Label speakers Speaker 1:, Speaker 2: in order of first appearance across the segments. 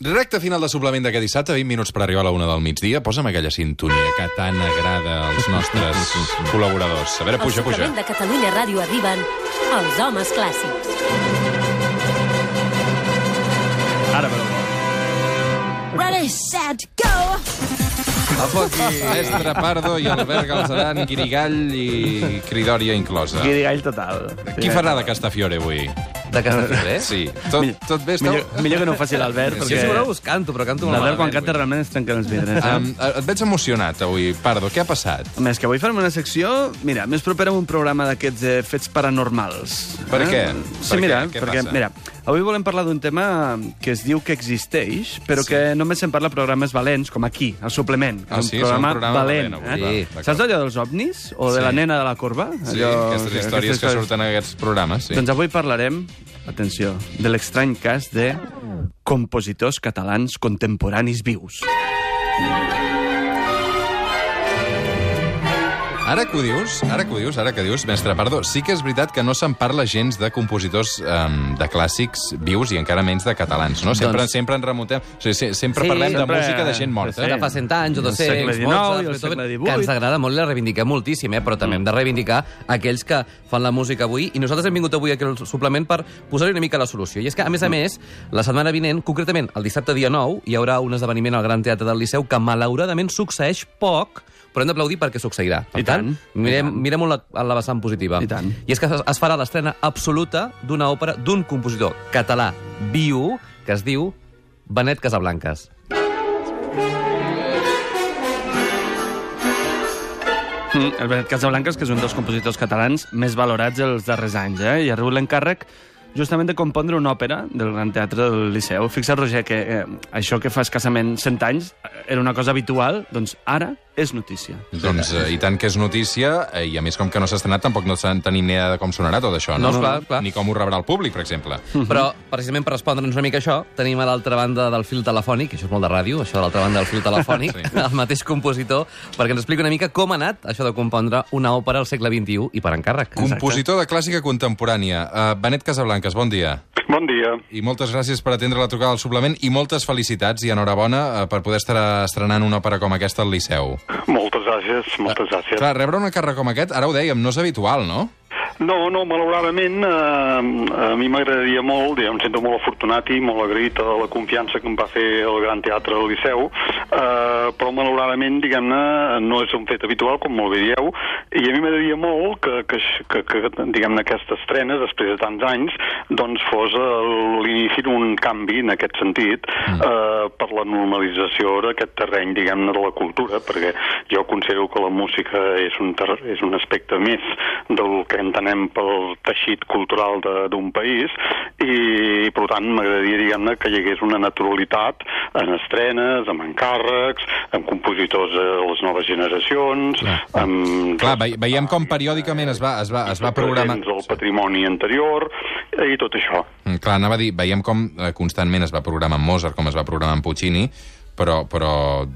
Speaker 1: Recte final de suplement d'aquest dissabte, 20 minuts per arribar a la una del migdia. Posa'm aquella sintonia que tan agrada als nostres col·laboradors. A veure, puja,
Speaker 2: Al
Speaker 1: puja.
Speaker 2: suplement de Catalunya Ràdio arriben els homes clàssics.
Speaker 3: Ara, però...
Speaker 2: Ready, set, go!
Speaker 1: A poc i Mestre Pardo i Albert Galzeran, Guirigall i Cridòria inclosa.
Speaker 3: Guirigall total.
Speaker 1: Qui farà de Castafiore avui?
Speaker 4: De casa teva, eh?
Speaker 1: Sí. Tot, tot bé? Esteu...
Speaker 3: Millor, millor que no ho faci l'Albert,
Speaker 4: Sí,
Speaker 3: perquè...
Speaker 4: si voleu, us canto, però canto molt
Speaker 3: L'Albert, quan
Speaker 4: malament.
Speaker 3: canta, realment ens trenquen els vidres. eh?
Speaker 1: Um, et veig emocionat avui, Pardo. Què ha passat?
Speaker 3: A més, que avui farem una secció, mira, més propera a un programa d'aquests eh, fets paranormals. eh?
Speaker 1: Per què?
Speaker 3: Sí,
Speaker 1: Per
Speaker 3: mira,
Speaker 1: què? Què
Speaker 3: perquè,
Speaker 1: passa?
Speaker 3: mira, avui volem parlar d'un tema que es diu que existeix, però sí. que només se'n parla a programes valents, com aquí, al suplement.
Speaker 1: Ah, sí? És un programa valent, avui.
Speaker 3: eh?
Speaker 1: Va, d'acord.
Speaker 3: Saps allò dels ovnis? O de
Speaker 1: Sí.
Speaker 3: la nena de la corba?
Speaker 1: Sí,
Speaker 3: Allò,
Speaker 1: aquestes històries que surten a aquests programes, sí.
Speaker 3: Doncs avui parlarem, atenció, de l'estrany cas de compositors catalans contemporanis vius.
Speaker 1: Ara que ho dius, ara que ho dius, ara que dius, mestre Pardo, sí que és veritat que no se'n parla gens de compositors um, de clàssics vius i encara menys de catalans, no? Sempre,
Speaker 4: Doncs-
Speaker 1: doncs... sempre en remuntem... O sigui, se- sempre
Speaker 4: Sí,
Speaker 1: parlem
Speaker 4: sempre-
Speaker 1: de música de gent morta. eh?
Speaker 3: Sí.
Speaker 4: de fa 100 anys o
Speaker 3: Del
Speaker 4: 200,
Speaker 3: segle XIX i del
Speaker 4: Beethoven,
Speaker 3: segle Mm. XVIII.
Speaker 4: que ens agrada molt i la reivindiquem moltíssim, eh? però també hem de reivindicar aquells que fan la música avui i nosaltres hem vingut avui aquí al suplement per posar-hi una mica la solució. I és que, a
Speaker 3: Mm.
Speaker 4: més a més, la setmana vinent, concretament el dissabte dia 9, hi haurà un esdeveniment al Gran Teatre del Liceu que malauradament succeeix poc, però hem d'aplaudir perquè succeirà. Per
Speaker 3: I tant.
Speaker 4: mirem, mirem la, la vessant positiva.
Speaker 3: I tant.
Speaker 4: I és que es, es farà l'estrena absoluta d'una òpera d'un compositor català viu que es diu Benet Casablanques.
Speaker 3: Mm, el Benet Casablancas, que és un dels compositors catalans més valorats els darrers anys, eh? i ha rebut l'encàrrec justament de compondre una òpera del Gran Teatre del Liceu. Fixa't, Roger, que eh, això que fa escassament 100 anys eh, era una cosa habitual, doncs ara és notícia.
Speaker 1: Doncs, eh, i tant que és notícia, eh, i a més com que no s'ha estrenat, tampoc no s'han tenint ni idea de com sonarà tot això, no?
Speaker 4: No, clar, clar.
Speaker 1: Ni com ho rebrà el públic, per exemple.
Speaker 4: Però, precisament per respondre'ns una mica a això, tenim a l'altra banda del fil telefònic, això és molt de ràdio, això de l'altra banda del fil telefònic,
Speaker 1: Sí.
Speaker 4: sí. el mateix compositor, perquè ens explica una mica com ha anat això de compondre una òpera al segle XXI i per encàrrec.
Speaker 1: Compositor de clàssica contemporània, eh, Benet Casablanques, bon dia.
Speaker 5: Bon dia.
Speaker 1: I moltes gràcies per atendre la trucada al suplement i moltes felicitats i enhorabona eh, per poder estar estrenant una òpera com aquesta al Liceu.
Speaker 5: Moltes gràcies, moltes gràcies.
Speaker 1: Clar, rebre una càrrega com aquest, ara ho dèiem, no és habitual, no?
Speaker 5: No, no, malauradament, eh, a mi m'agradaria molt, ja em sento molt afortunat i molt agraït a la confiança que em va fer el Gran Teatre del Liceu, eh, però malauradament, diguem-ne, no és un fet habitual, com molt bé dieu, i a mi m'agradaria molt que, que, aix- que, que diguem-ne, aquesta estrena, després de tants anys, doncs fos el- l'inici d'un canvi en aquest sentit
Speaker 1: Mm.
Speaker 5: eh, per la normalització d'aquest terreny, diguem-ne, de la cultura, perquè jo considero que la música és un, ter és un aspecte més del que entenem pel teixit cultural de- d'un país i, per tant, m'agradaria, diguem-ne, que hi hagués una naturalitat en estrenes, amb encàrrecs, amb compositors de les noves generacions,
Speaker 1: Clar.
Speaker 5: amb...
Speaker 1: Clar, ve veiem com periòdicament es va, es va, es va programar...
Speaker 5: presents del patrimoni anterior i tot això.
Speaker 1: Mm, Clar, anava a dir, veiem com eh, constantment es va programar en Mozart, com es va programar en Puccini, però, però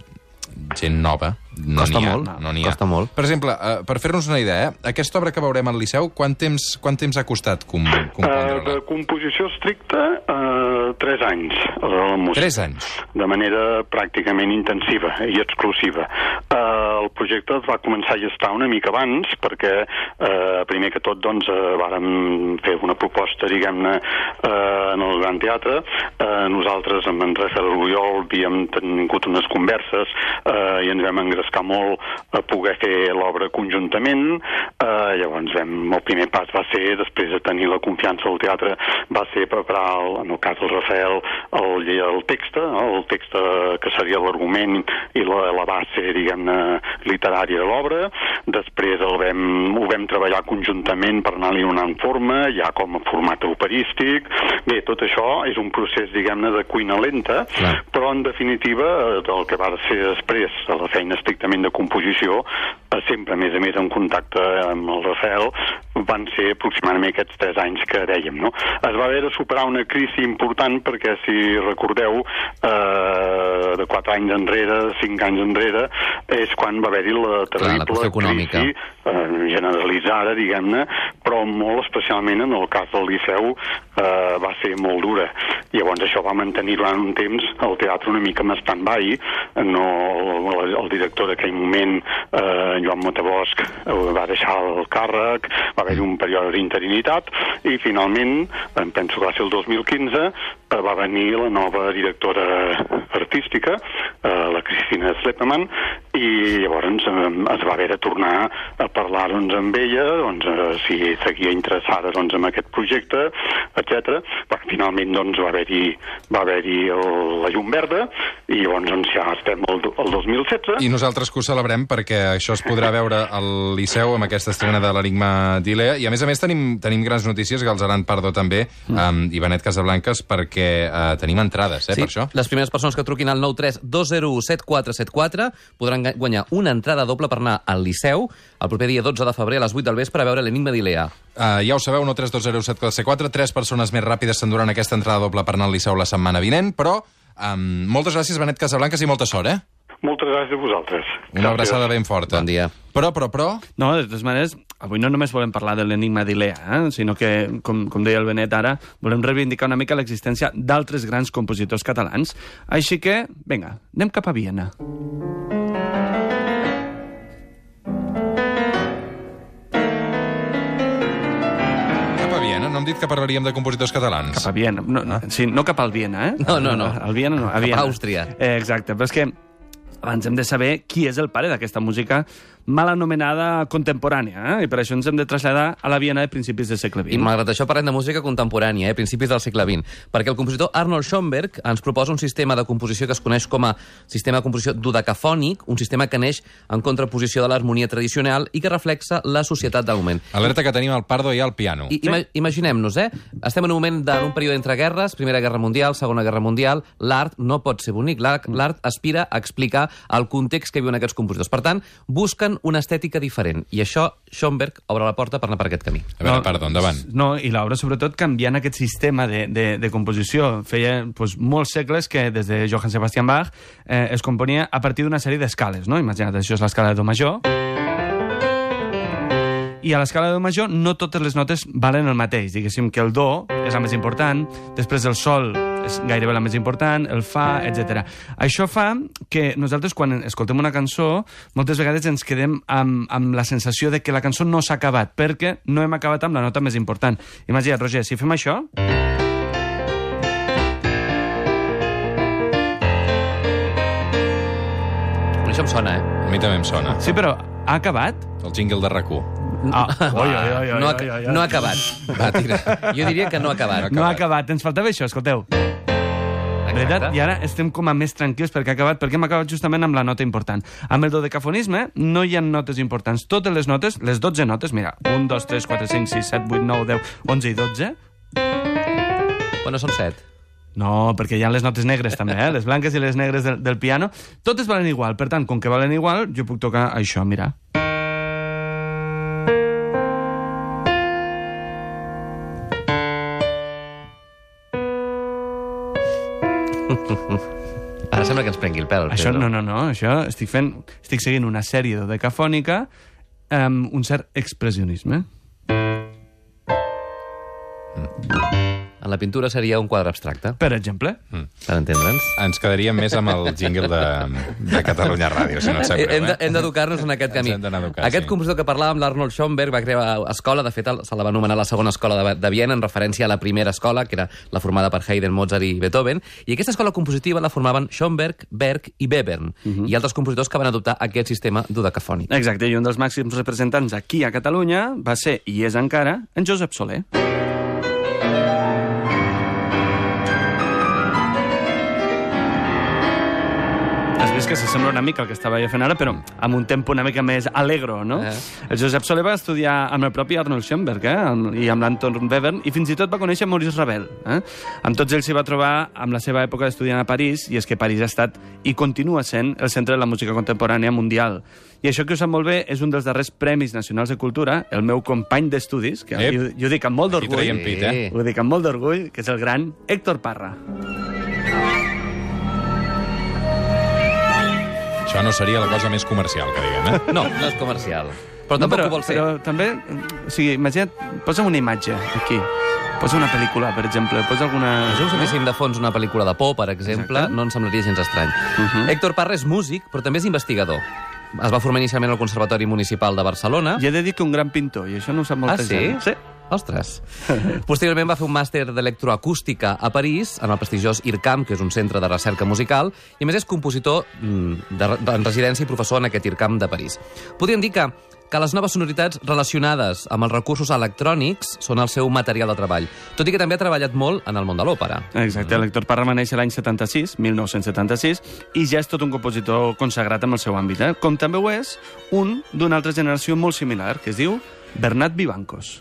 Speaker 1: gent nova no
Speaker 4: Costa
Speaker 1: n'hi ha.
Speaker 4: molt,
Speaker 1: no n'hi ha.
Speaker 4: costa molt.
Speaker 1: Per exemple, eh, per fer-nos una idea, eh, aquesta obra que veurem al Liceu, quant temps, quant temps ha costat com,
Speaker 5: Eh,
Speaker 1: compondre-la?
Speaker 5: de composició estricta, eh, 3 anys. a la música.
Speaker 1: Tres anys.
Speaker 5: De manera pràcticament intensiva i exclusiva. Eh, el projecte es va començar a gestar una mica abans, perquè eh, primer que tot doncs, eh, vàrem fer una proposta, diguem-ne, eh, en el Gran Teatre. Eh, nosaltres, amb en Rafael Oriol, havíem tingut unes converses eh, i ens vam engrescar molt a poder fer l'obra conjuntament. Eh, llavors, vam, el primer pas va ser, després de tenir la confiança del teatre, va ser preparar, el, en el cas del Rafael, el, el text, el text eh, que seria l'argument i la, la base, diguem-ne, literària de l'obra. Després el vam, ho vam treballar conjuntament per anar-li donant forma, ja com a format operístic. Bé, tot això és un procés, diguem-ne, de cuina lenta,
Speaker 1: Clar.
Speaker 5: però en definitiva eh, el que va ser després de la feina estrictament de composició eh, sempre a més a més en contacte amb el Rafael van ser aproximadament aquests tres anys que dèiem no? es va haver de superar una crisi important perquè si recordeu eh, de quatre anys enrere cinc anys enrere és quan va haver-hi la
Speaker 4: Clar, la
Speaker 5: terrible
Speaker 4: qüestió econòmica.
Speaker 5: crisi eh, generalitzada, diguem-ne, però molt especialment en el cas del Liceu eh, va ser molt dura. Llavors això va mantenir durant un temps el teatre una mica en stand-by. No, el, el director d'aquell moment, eh, Joan Motabosch, eh, va deixar el càrrec, va haver-hi un període d'interinitat i finalment, em penso que va ser el 2015, eh, va venir la nova directora artística, eh, la Cristina Slepeman, i llavors eh, es va haver de tornar a parlar doncs, amb ella, doncs, eh, si seguia interessada doncs, en aquest projecte, etc. Però finalment doncs, va haver-hi va haver la llum verda i llavors doncs, ja estem al, do- al 2016.
Speaker 1: I nosaltres que ho celebrem perquè això es podrà veure al Liceu amb aquesta estrena de l'Enigma d'Ilea. I a més a més tenim, tenim grans notícies, Galzeran Pardo també,
Speaker 4: Mm.
Speaker 1: um, i Benet Casablanques, perquè uh, tenim entrades, eh, per això.
Speaker 4: Les primeres persones que truquin al 932017474 podran ga- guanyar una entrada doble per anar al Liceu el proper dia 12 de febrer a les 8 del vespre a veure l'Enigma d'Ilea.
Speaker 1: Uh, ja ho sabeu, 1 3 2 0 7 4 4 Tres persones més ràpides s'enduran aquesta entrada doble per anar al Liceu la setmana vinent, però um, moltes gràcies, Benet Casablanques, i molta sort, eh?
Speaker 5: Moltes gràcies a vosaltres.
Speaker 1: Una abraçada ben forta.
Speaker 4: Bon dia.
Speaker 1: Però, però, però...
Speaker 3: No, de totes maneres, avui no només volem parlar de l'enigma d'Ilea, eh? sinó que, com, com deia el Benet ara, volem reivindicar una mica l'existència d'altres grans compositors catalans. Així que, vinga, anem cap a Viena.
Speaker 1: Cap a Viena, no hem dit que parlaríem de compositors catalans.
Speaker 3: Cap a Viena. No, no, sí, no cap al Viena, eh?
Speaker 4: Ah. No, no, no.
Speaker 3: Al Viena no, a
Speaker 4: Cap a
Speaker 3: Viena.
Speaker 4: Àustria.
Speaker 3: Eh, exacte, però és que abans hem de saber qui és el pare d'aquesta música mal anomenada contemporània, eh? i per això ens hem de traslladar a la Viena de principis del segle
Speaker 4: I
Speaker 3: XX.
Speaker 4: malgrat això parlem de música contemporània, eh, principis del segle XX, perquè el compositor Arnold Schoenberg ens proposa un sistema de composició que es coneix com a sistema de composició dodecafònic, un sistema que neix en contraposició de l'harmonia tradicional i que reflexa la societat del moment.
Speaker 1: Alerta que tenim el Pardo i el piano.
Speaker 4: I, ima Imaginem-nos, eh? Estem en un moment d'un període entre guerres, Primera Guerra Mundial, Segona Guerra Mundial, l'art no pot ser bonic, l'art l'art aspira a explicar el context que viuen aquests compositors. Per tant, busquen una estètica diferent, i això Schoenberg obre la porta per anar per aquest camí.
Speaker 1: A veure, Pardo, endavant.
Speaker 3: No, i l'obra, sobretot, canviant aquest sistema de, de, de composició. Feia doncs, molts segles que, des de Johann Sebastian Bach, eh, es componia a partir d'una sèrie d'escales, no? Imagina't, això és l'escala de do major. I a l'escala de do major no totes les notes valen el mateix. Diguéssim que el do és la més important, després el sol és gairebé la més important, el fa, etc. Això fa que nosaltres, quan escoltem una cançó, moltes vegades ens quedem amb, amb la sensació de que la cançó no s'ha acabat, perquè no hem acabat amb la nota més important. Imagina't, Roger, si fem això...
Speaker 4: Això em sona, eh?
Speaker 1: A mi també em sona.
Speaker 3: Sí, però ha acabat?
Speaker 1: El jingle de rac
Speaker 3: Ah, oi, oi, oi, oi,
Speaker 4: No ha,
Speaker 3: oi, oi, oi.
Speaker 4: no ha acabat. Va, tira. Jo diria que no ha acabat.
Speaker 3: No ha acabat, ens faltava això, escolteu. Veritat, I ara estem com a més tranquils perquè ha acabat, perquè hem acabat justament amb la nota important. Amb el dodecafonisme no hi ha notes importants. Totes les notes, les 12 notes, mira, 1, 2, 3, 4, 5, 6, 7, 8, 9, 10, 11 i 12...
Speaker 4: Bueno, són set.
Speaker 3: No, perquè hi ha les notes negres també, eh? les blanques i les negres del, del piano. Totes valen igual, per tant, com que valen igual, jo puc tocar això, mira.
Speaker 4: Ara sembla que ens prengui el pèl. el
Speaker 3: Això, no,
Speaker 4: Pedro.
Speaker 3: no, no, això estic fent... Estic seguint una sèrie dodecafònica amb un cert expressionisme.
Speaker 4: En la pintura seria un quadre abstracte,
Speaker 3: Per exemple,
Speaker 4: per entendre'ns.
Speaker 1: Ens quedaríem més amb el jingle de, de Catalunya Ràdio, si no et sap greu.
Speaker 4: Hem de-
Speaker 1: eh?
Speaker 4: hem d'educar-nos en aquest camí.
Speaker 1: Ens hem d'anar educant,
Speaker 4: Aquest
Speaker 1: sí.
Speaker 4: compositor que parlàvem, l'Arnold Schoenberg, va crear escola, de fet el- se la va anomenar la segona escola de, de Viena en referència a la primera escola, que era la formada per Haydn, Mozart i Beethoven, i aquesta escola compositiva la formaven Schoenberg, Berg i Webern,
Speaker 3: Mhm.
Speaker 4: i altres compositors que van adoptar aquest sistema dodecafònic.
Speaker 3: Exacte, i un dels màxims representants aquí a Catalunya va ser, i és encara, en Josep Soler. Has vist que s'assembla una mica el que estava jo fent ara, però amb un tempo una mica més alegro, no?
Speaker 4: Eh.
Speaker 3: Eh. El Josep Soler va estudiar amb el propi Arnold Schoenberg eh? amb- i amb l'Anton Webern i fins i tot va conèixer Maurice Ravel. Eh? Amb tots ells s'hi va trobar amb la seva època d'estudiant a París i és que París ha estat i continua sent el centre de la música contemporània mundial. I això que ho sap molt bé és un dels darrers Premis Nacionals de Cultura, el meu company d'estudis, que
Speaker 1: Ep.
Speaker 3: jo, jo dic amb molt
Speaker 1: Aquí traiem
Speaker 3: d'orgull,
Speaker 1: pit, eh?
Speaker 4: Sí.
Speaker 3: ho dic amb molt d'orgull, que és el gran Héctor Parra.
Speaker 1: Això no seria la cosa més comercial, que diguem, eh?
Speaker 4: No, no és comercial. Però tampoc
Speaker 3: però,
Speaker 4: ho vol ser.
Speaker 3: Però també, o sigui, imagina't, posa'm una imatge aquí. Posa una pel·lícula, per exemple. Posa alguna...
Speaker 4: Just si fessin de fons una pel·lícula de por, per exemple,
Speaker 3: Ah. Exacte.
Speaker 4: no ens semblaria gens estrany.
Speaker 3: Mhm.
Speaker 4: Héctor Parra és músic, però també és investigador. Es va formar inicialment al Conservatori Municipal de Barcelona.
Speaker 3: I he de dir que un gran pintor, i això no ho sap molta
Speaker 4: Ah, sí?
Speaker 3: gent. Sí.
Speaker 4: Ostres. Posteriorment va fer un màster d'electroacústica a París, en el prestigiós IRCAM, que és un centre de recerca musical, i a més és compositor mm, de, de, en residència i professor en aquest IRCAM de París. Podríem dir que que les noves sonoritats relacionades amb els recursos electrònics són el seu material de treball, tot i que també ha treballat molt en el món de l'òpera.
Speaker 3: Exacte, l'Hector Parra va néixer l'any 76, 1976, i ja és tot un compositor consagrat amb el seu àmbit, eh? com també ho és un d'una altra generació molt similar, que es diu Bernat Vivancos.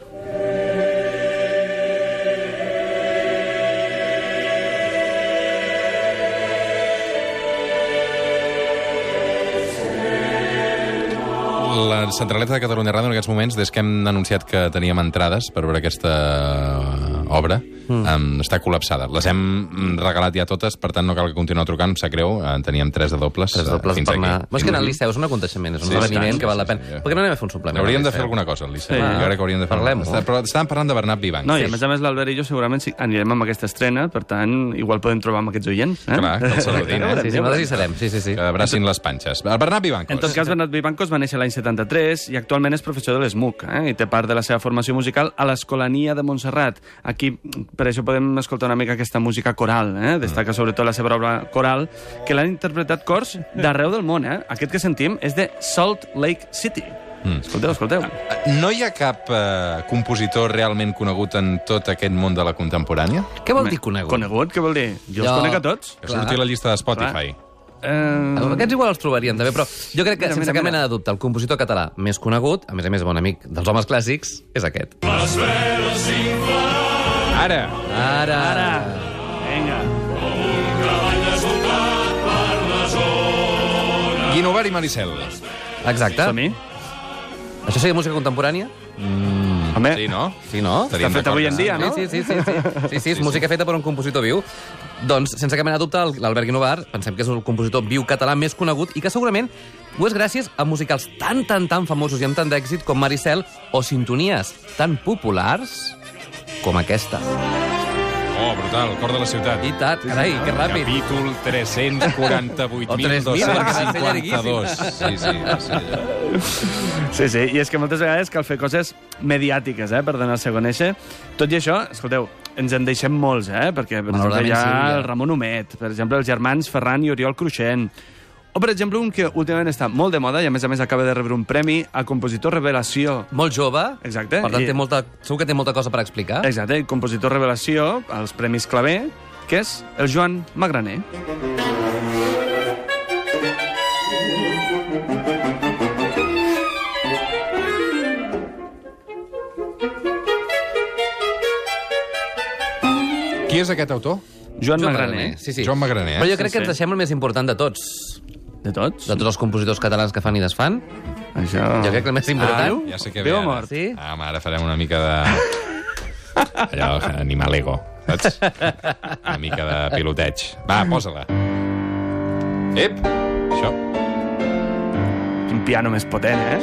Speaker 1: La centraleta de Catalunya Ràdio en aquests moments, des que hem anunciat que teníem entrades per veure aquesta eh, obra, mm. um, està col·lapsada. Les hem mm, regalat ja totes, per tant no cal que continuï trucant, em sap greu, eh, en teníem tres de dobles.
Speaker 4: Tres
Speaker 1: eh,
Speaker 4: dobles
Speaker 1: fins
Speaker 4: per anar...
Speaker 1: aquí.
Speaker 4: Però és que anar al Liceu és un aconteixement, és un
Speaker 1: Sí,
Speaker 4: sí,
Speaker 1: sí,
Speaker 4: esdeveniment
Speaker 1: sí,
Speaker 4: que val la
Speaker 1: sí,
Speaker 4: pena.
Speaker 1: sí, sí.
Speaker 4: Per què no anem a fer un suplement?
Speaker 1: Hauríem de fer
Speaker 4: Liceu?
Speaker 1: alguna cosa, Liceu.
Speaker 3: Sí.
Speaker 1: Jo crec que hauríem de fer alguna
Speaker 4: Parlem-ho.
Speaker 1: cosa. Però estàvem parlant de Bernat Vivanc.
Speaker 3: No, i a més a més l'Albert i jo segurament sí- anirem amb aquesta estrena, per tant, igual podem trobar amb aquests oients. Eh?
Speaker 1: Clar, que el saludin, eh?
Speaker 4: Sí, sí, nosaltres hi serem, sí, sí, sí.
Speaker 1: Que abracin les panxes. El Bernat Vivanc.
Speaker 3: En tot cas, Bernat Vivancos va néixer l'any 73 i actualment és professor de l'ESMUC eh? i té part de la seva formació musical a l'Escolania de Montserrat. Aquí, per això, podem escoltar una mica aquesta música coral. Eh? Destaca sobretot la seva obra coral, que l'han interpretat cors d'arreu del món. Eh? Aquest que sentim és de Salt Lake City.
Speaker 1: Mm.
Speaker 3: Escolteu, escolteu.
Speaker 1: No hi ha cap eh, compositor realment conegut en tot aquest món de la contemporània?
Speaker 4: Què vol dir conegut?
Speaker 3: Conegut, què vol dir? Jo, jo...
Speaker 4: Jo-
Speaker 3: els conec a tots.
Speaker 1: Que
Speaker 4: Clar.
Speaker 1: surti a la llista de Spotify.
Speaker 3: Eh...
Speaker 4: Aquests igual els trobarien també, però jo crec que,
Speaker 3: Mira,
Speaker 4: sense
Speaker 3: mira,
Speaker 4: cap
Speaker 3: mira.
Speaker 4: mena de dubte, el compositor català més conegut, a més a més bon amic dels homes clàssics, és aquest.
Speaker 1: Ara!
Speaker 4: Ara, ara.
Speaker 3: Vinga.
Speaker 1: Guinovar i Maricel.
Speaker 4: Eh. Exacte.
Speaker 3: Som-hi.
Speaker 4: Això seria música contemporània?
Speaker 3: Home,
Speaker 1: Sí, no?
Speaker 4: Sí, no?
Speaker 1: Estaríem
Speaker 3: Està fet
Speaker 1: d'acord,
Speaker 3: avui en
Speaker 1: eh?
Speaker 3: dia, no?
Speaker 4: Sí, sí, sí, sí, sí. sí, sí és música feta per un compositor viu. Doncs, sense cap mena de dubte, el- l'Albert Guinovar, pensem que és el compositor viu català més conegut i que segurament ho és gràcies a musicals tan, tan, tan famosos i amb tant d'èxit com Maricel o sintonies tan populars com aquesta.
Speaker 1: Oh, brutal, cor de la ciutat.
Speaker 4: I tant, carai, que ràpid.
Speaker 1: Capítol
Speaker 4: O 3.000, perquè va ser
Speaker 1: 348.252.
Speaker 4: llarguíssim.
Speaker 1: Sí, sí, sí.
Speaker 3: Sí, sí, i és que moltes vegades cal fer coses mediàtiques, eh, per donar-se a conèixer. Tot i això, escolteu, ens en deixem molts, eh, perquè, per exemple,
Speaker 4: Malauradament,
Speaker 3: hi ha
Speaker 4: sí, ja.
Speaker 3: el Ramon Homet, per exemple, els germans Ferran i Oriol Cruixent, o, per exemple, un que últimament està molt de moda i, a més a més, acaba de rebre un premi a compositor revelació.
Speaker 4: Molt jove,
Speaker 3: Exacte.
Speaker 4: per tant,
Speaker 3: I-
Speaker 4: té molta, segur que té molta cosa per explicar.
Speaker 3: Exacte, i compositor revelació als Premis Clavé, que és el Joan Magraner.
Speaker 1: Qui és aquest autor?
Speaker 3: Joan,
Speaker 4: Joan
Speaker 3: Magraner.
Speaker 4: Sí, sí.
Speaker 1: Joan Magraner, eh?
Speaker 4: Però jo crec
Speaker 3: Sí,
Speaker 4: que ens
Speaker 3: sí.
Speaker 4: deixem el més important de tots,
Speaker 3: De tots?
Speaker 4: de tots els compositors catalans que fan i desfan.
Speaker 3: Això...
Speaker 4: Jo crec que el més important...
Speaker 1: Ja sé que ve
Speaker 3: Viu o
Speaker 1: ara.
Speaker 3: mort?
Speaker 4: Sí?
Speaker 1: Ah, home, ara farem una mica de... Allò, animal ego, saps? Una mica de piloteig. Va, posa-la. Ep! Això.
Speaker 3: Quin piano més potent, eh?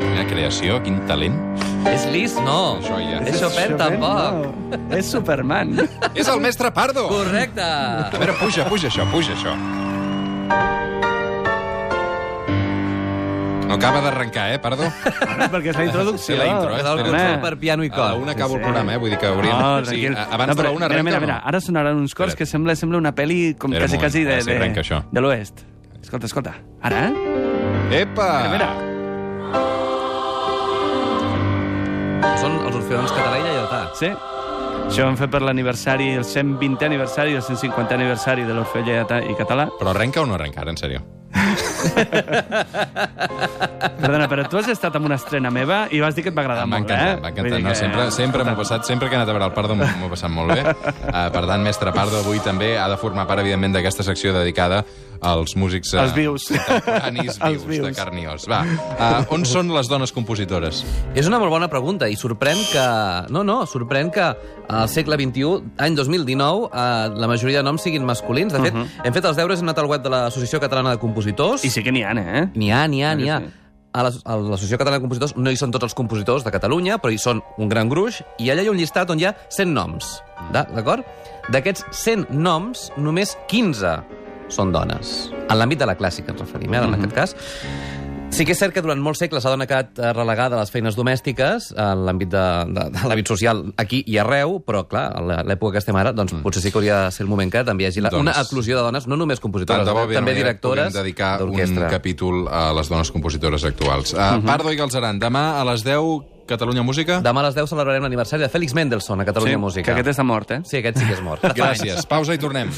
Speaker 1: Quina creació, quin talent.
Speaker 4: És Lis? No.
Speaker 1: Això ja.
Speaker 4: És Chopin, tampoc.
Speaker 3: No. És Superman.
Speaker 1: És el mestre Pardo!
Speaker 4: Correcte.
Speaker 1: A veure, puja, puja això, puja això. No acaba d'arrencar, eh, Pardo?
Speaker 3: perquè és la introducció.
Speaker 1: Sí, la intro, eh?
Speaker 4: Quedar el
Speaker 1: Home.
Speaker 4: concert per piano i
Speaker 1: A la
Speaker 4: cor.
Speaker 1: una acabo
Speaker 3: Sí,
Speaker 1: el
Speaker 3: sí.
Speaker 1: programa, eh? Vull dir que hauríem...
Speaker 3: No,
Speaker 1: o sigui,
Speaker 3: tranquil.
Speaker 1: a- abans de
Speaker 3: però
Speaker 1: la una
Speaker 3: mira,
Speaker 1: arrenca
Speaker 3: mira,
Speaker 1: o no?
Speaker 3: mira, ara sonaran uns cors
Speaker 1: Espera't.
Speaker 3: que sembla, sembla una pel·li com
Speaker 1: Espera un
Speaker 3: quasi,
Speaker 1: moment,
Speaker 3: quasi de,
Speaker 1: ara sí
Speaker 3: de,
Speaker 1: arrenca això.
Speaker 3: de l'oest. Escolta, escolta, ara, eh?
Speaker 1: Epa!
Speaker 3: Mira,
Speaker 4: Són els orfeons català i lleidatà.
Speaker 3: sí. Això ho hem fet per l'aniversari, el 120è aniversari i el 150è aniversari de l'Orfeo Lleidatà i Català.
Speaker 1: Però arrenca o no arrenca, ara, en sèrio?
Speaker 3: Perdona, però tu has estat en una estrena meva i vas dir que et va agradar
Speaker 1: Ah, M'ha
Speaker 3: molt,
Speaker 1: encantat,
Speaker 3: eh?
Speaker 1: m'ha
Speaker 3: Vull
Speaker 1: encantat.
Speaker 3: dir
Speaker 1: No,
Speaker 3: que- tota
Speaker 1: sempre sempre m'ho he passat, sempre que he anat a veure el Pardo m'ho m'ho he passat molt bé. Uh, per tant, mestre Pardo avui també ha de formar part, evidentment, d'aquesta secció dedicada als músics... eh,
Speaker 3: Els vius.
Speaker 1: Contemporanis
Speaker 3: Els
Speaker 1: vius, vius, de
Speaker 3: vius.
Speaker 1: carn i os. Va, uh, on són les dones compositores?
Speaker 4: És una molt bona pregunta i sorprèn que... No, no, sorprèn que al segle XXI, any 2019, eh, la majoria de noms siguin masculins. De fet, hem fet els deures, hem anat al web de l'Associació Catalana de Compositors.
Speaker 3: I sí que n'hi ha, eh?
Speaker 4: N'hi ha, n'hi ha, n'hi ha. a l'As- a l'Associació Catalana de Compositors no hi són tots els compositors de Catalunya, però hi són un gran gruix, i allà hi ha un llistat on hi ha 100 noms, da- d'acord? D'aquests 100 noms, només 15 són dones. En l'àmbit de la clàssica ens referim, eh, en
Speaker 1: Mhm.
Speaker 4: aquest cas. Sí que és cert que durant molts segles la dona ha quedat eh, relegada a les feines domèstiques, en l'àmbit de, de, de l'àmbit social aquí i arreu, però clar, a la- l'època que estem ara, doncs mm. potser sí que hauria de ser el moment que també hi hagi la,
Speaker 1: Doncs-
Speaker 4: una eclosió de dones, no només
Speaker 1: Tant
Speaker 4: compositores,
Speaker 1: de bo
Speaker 4: eh, també
Speaker 1: Vironera,
Speaker 4: directores
Speaker 1: puguem dedicar un
Speaker 4: d'orquestra. Mhm.
Speaker 1: capítol a les dones compositores actuals. Uh, Pardo i Galzeran, demà a les 10, Catalunya Música.
Speaker 4: Demà a les 10 celebrarem l'aniversari de Félix Mendelssohn a Catalunya
Speaker 3: sí,
Speaker 4: Música.
Speaker 3: que aquest està mort, eh?
Speaker 4: Sí, aquest sí que és mort.
Speaker 1: Gràcies. Pausa i tornem.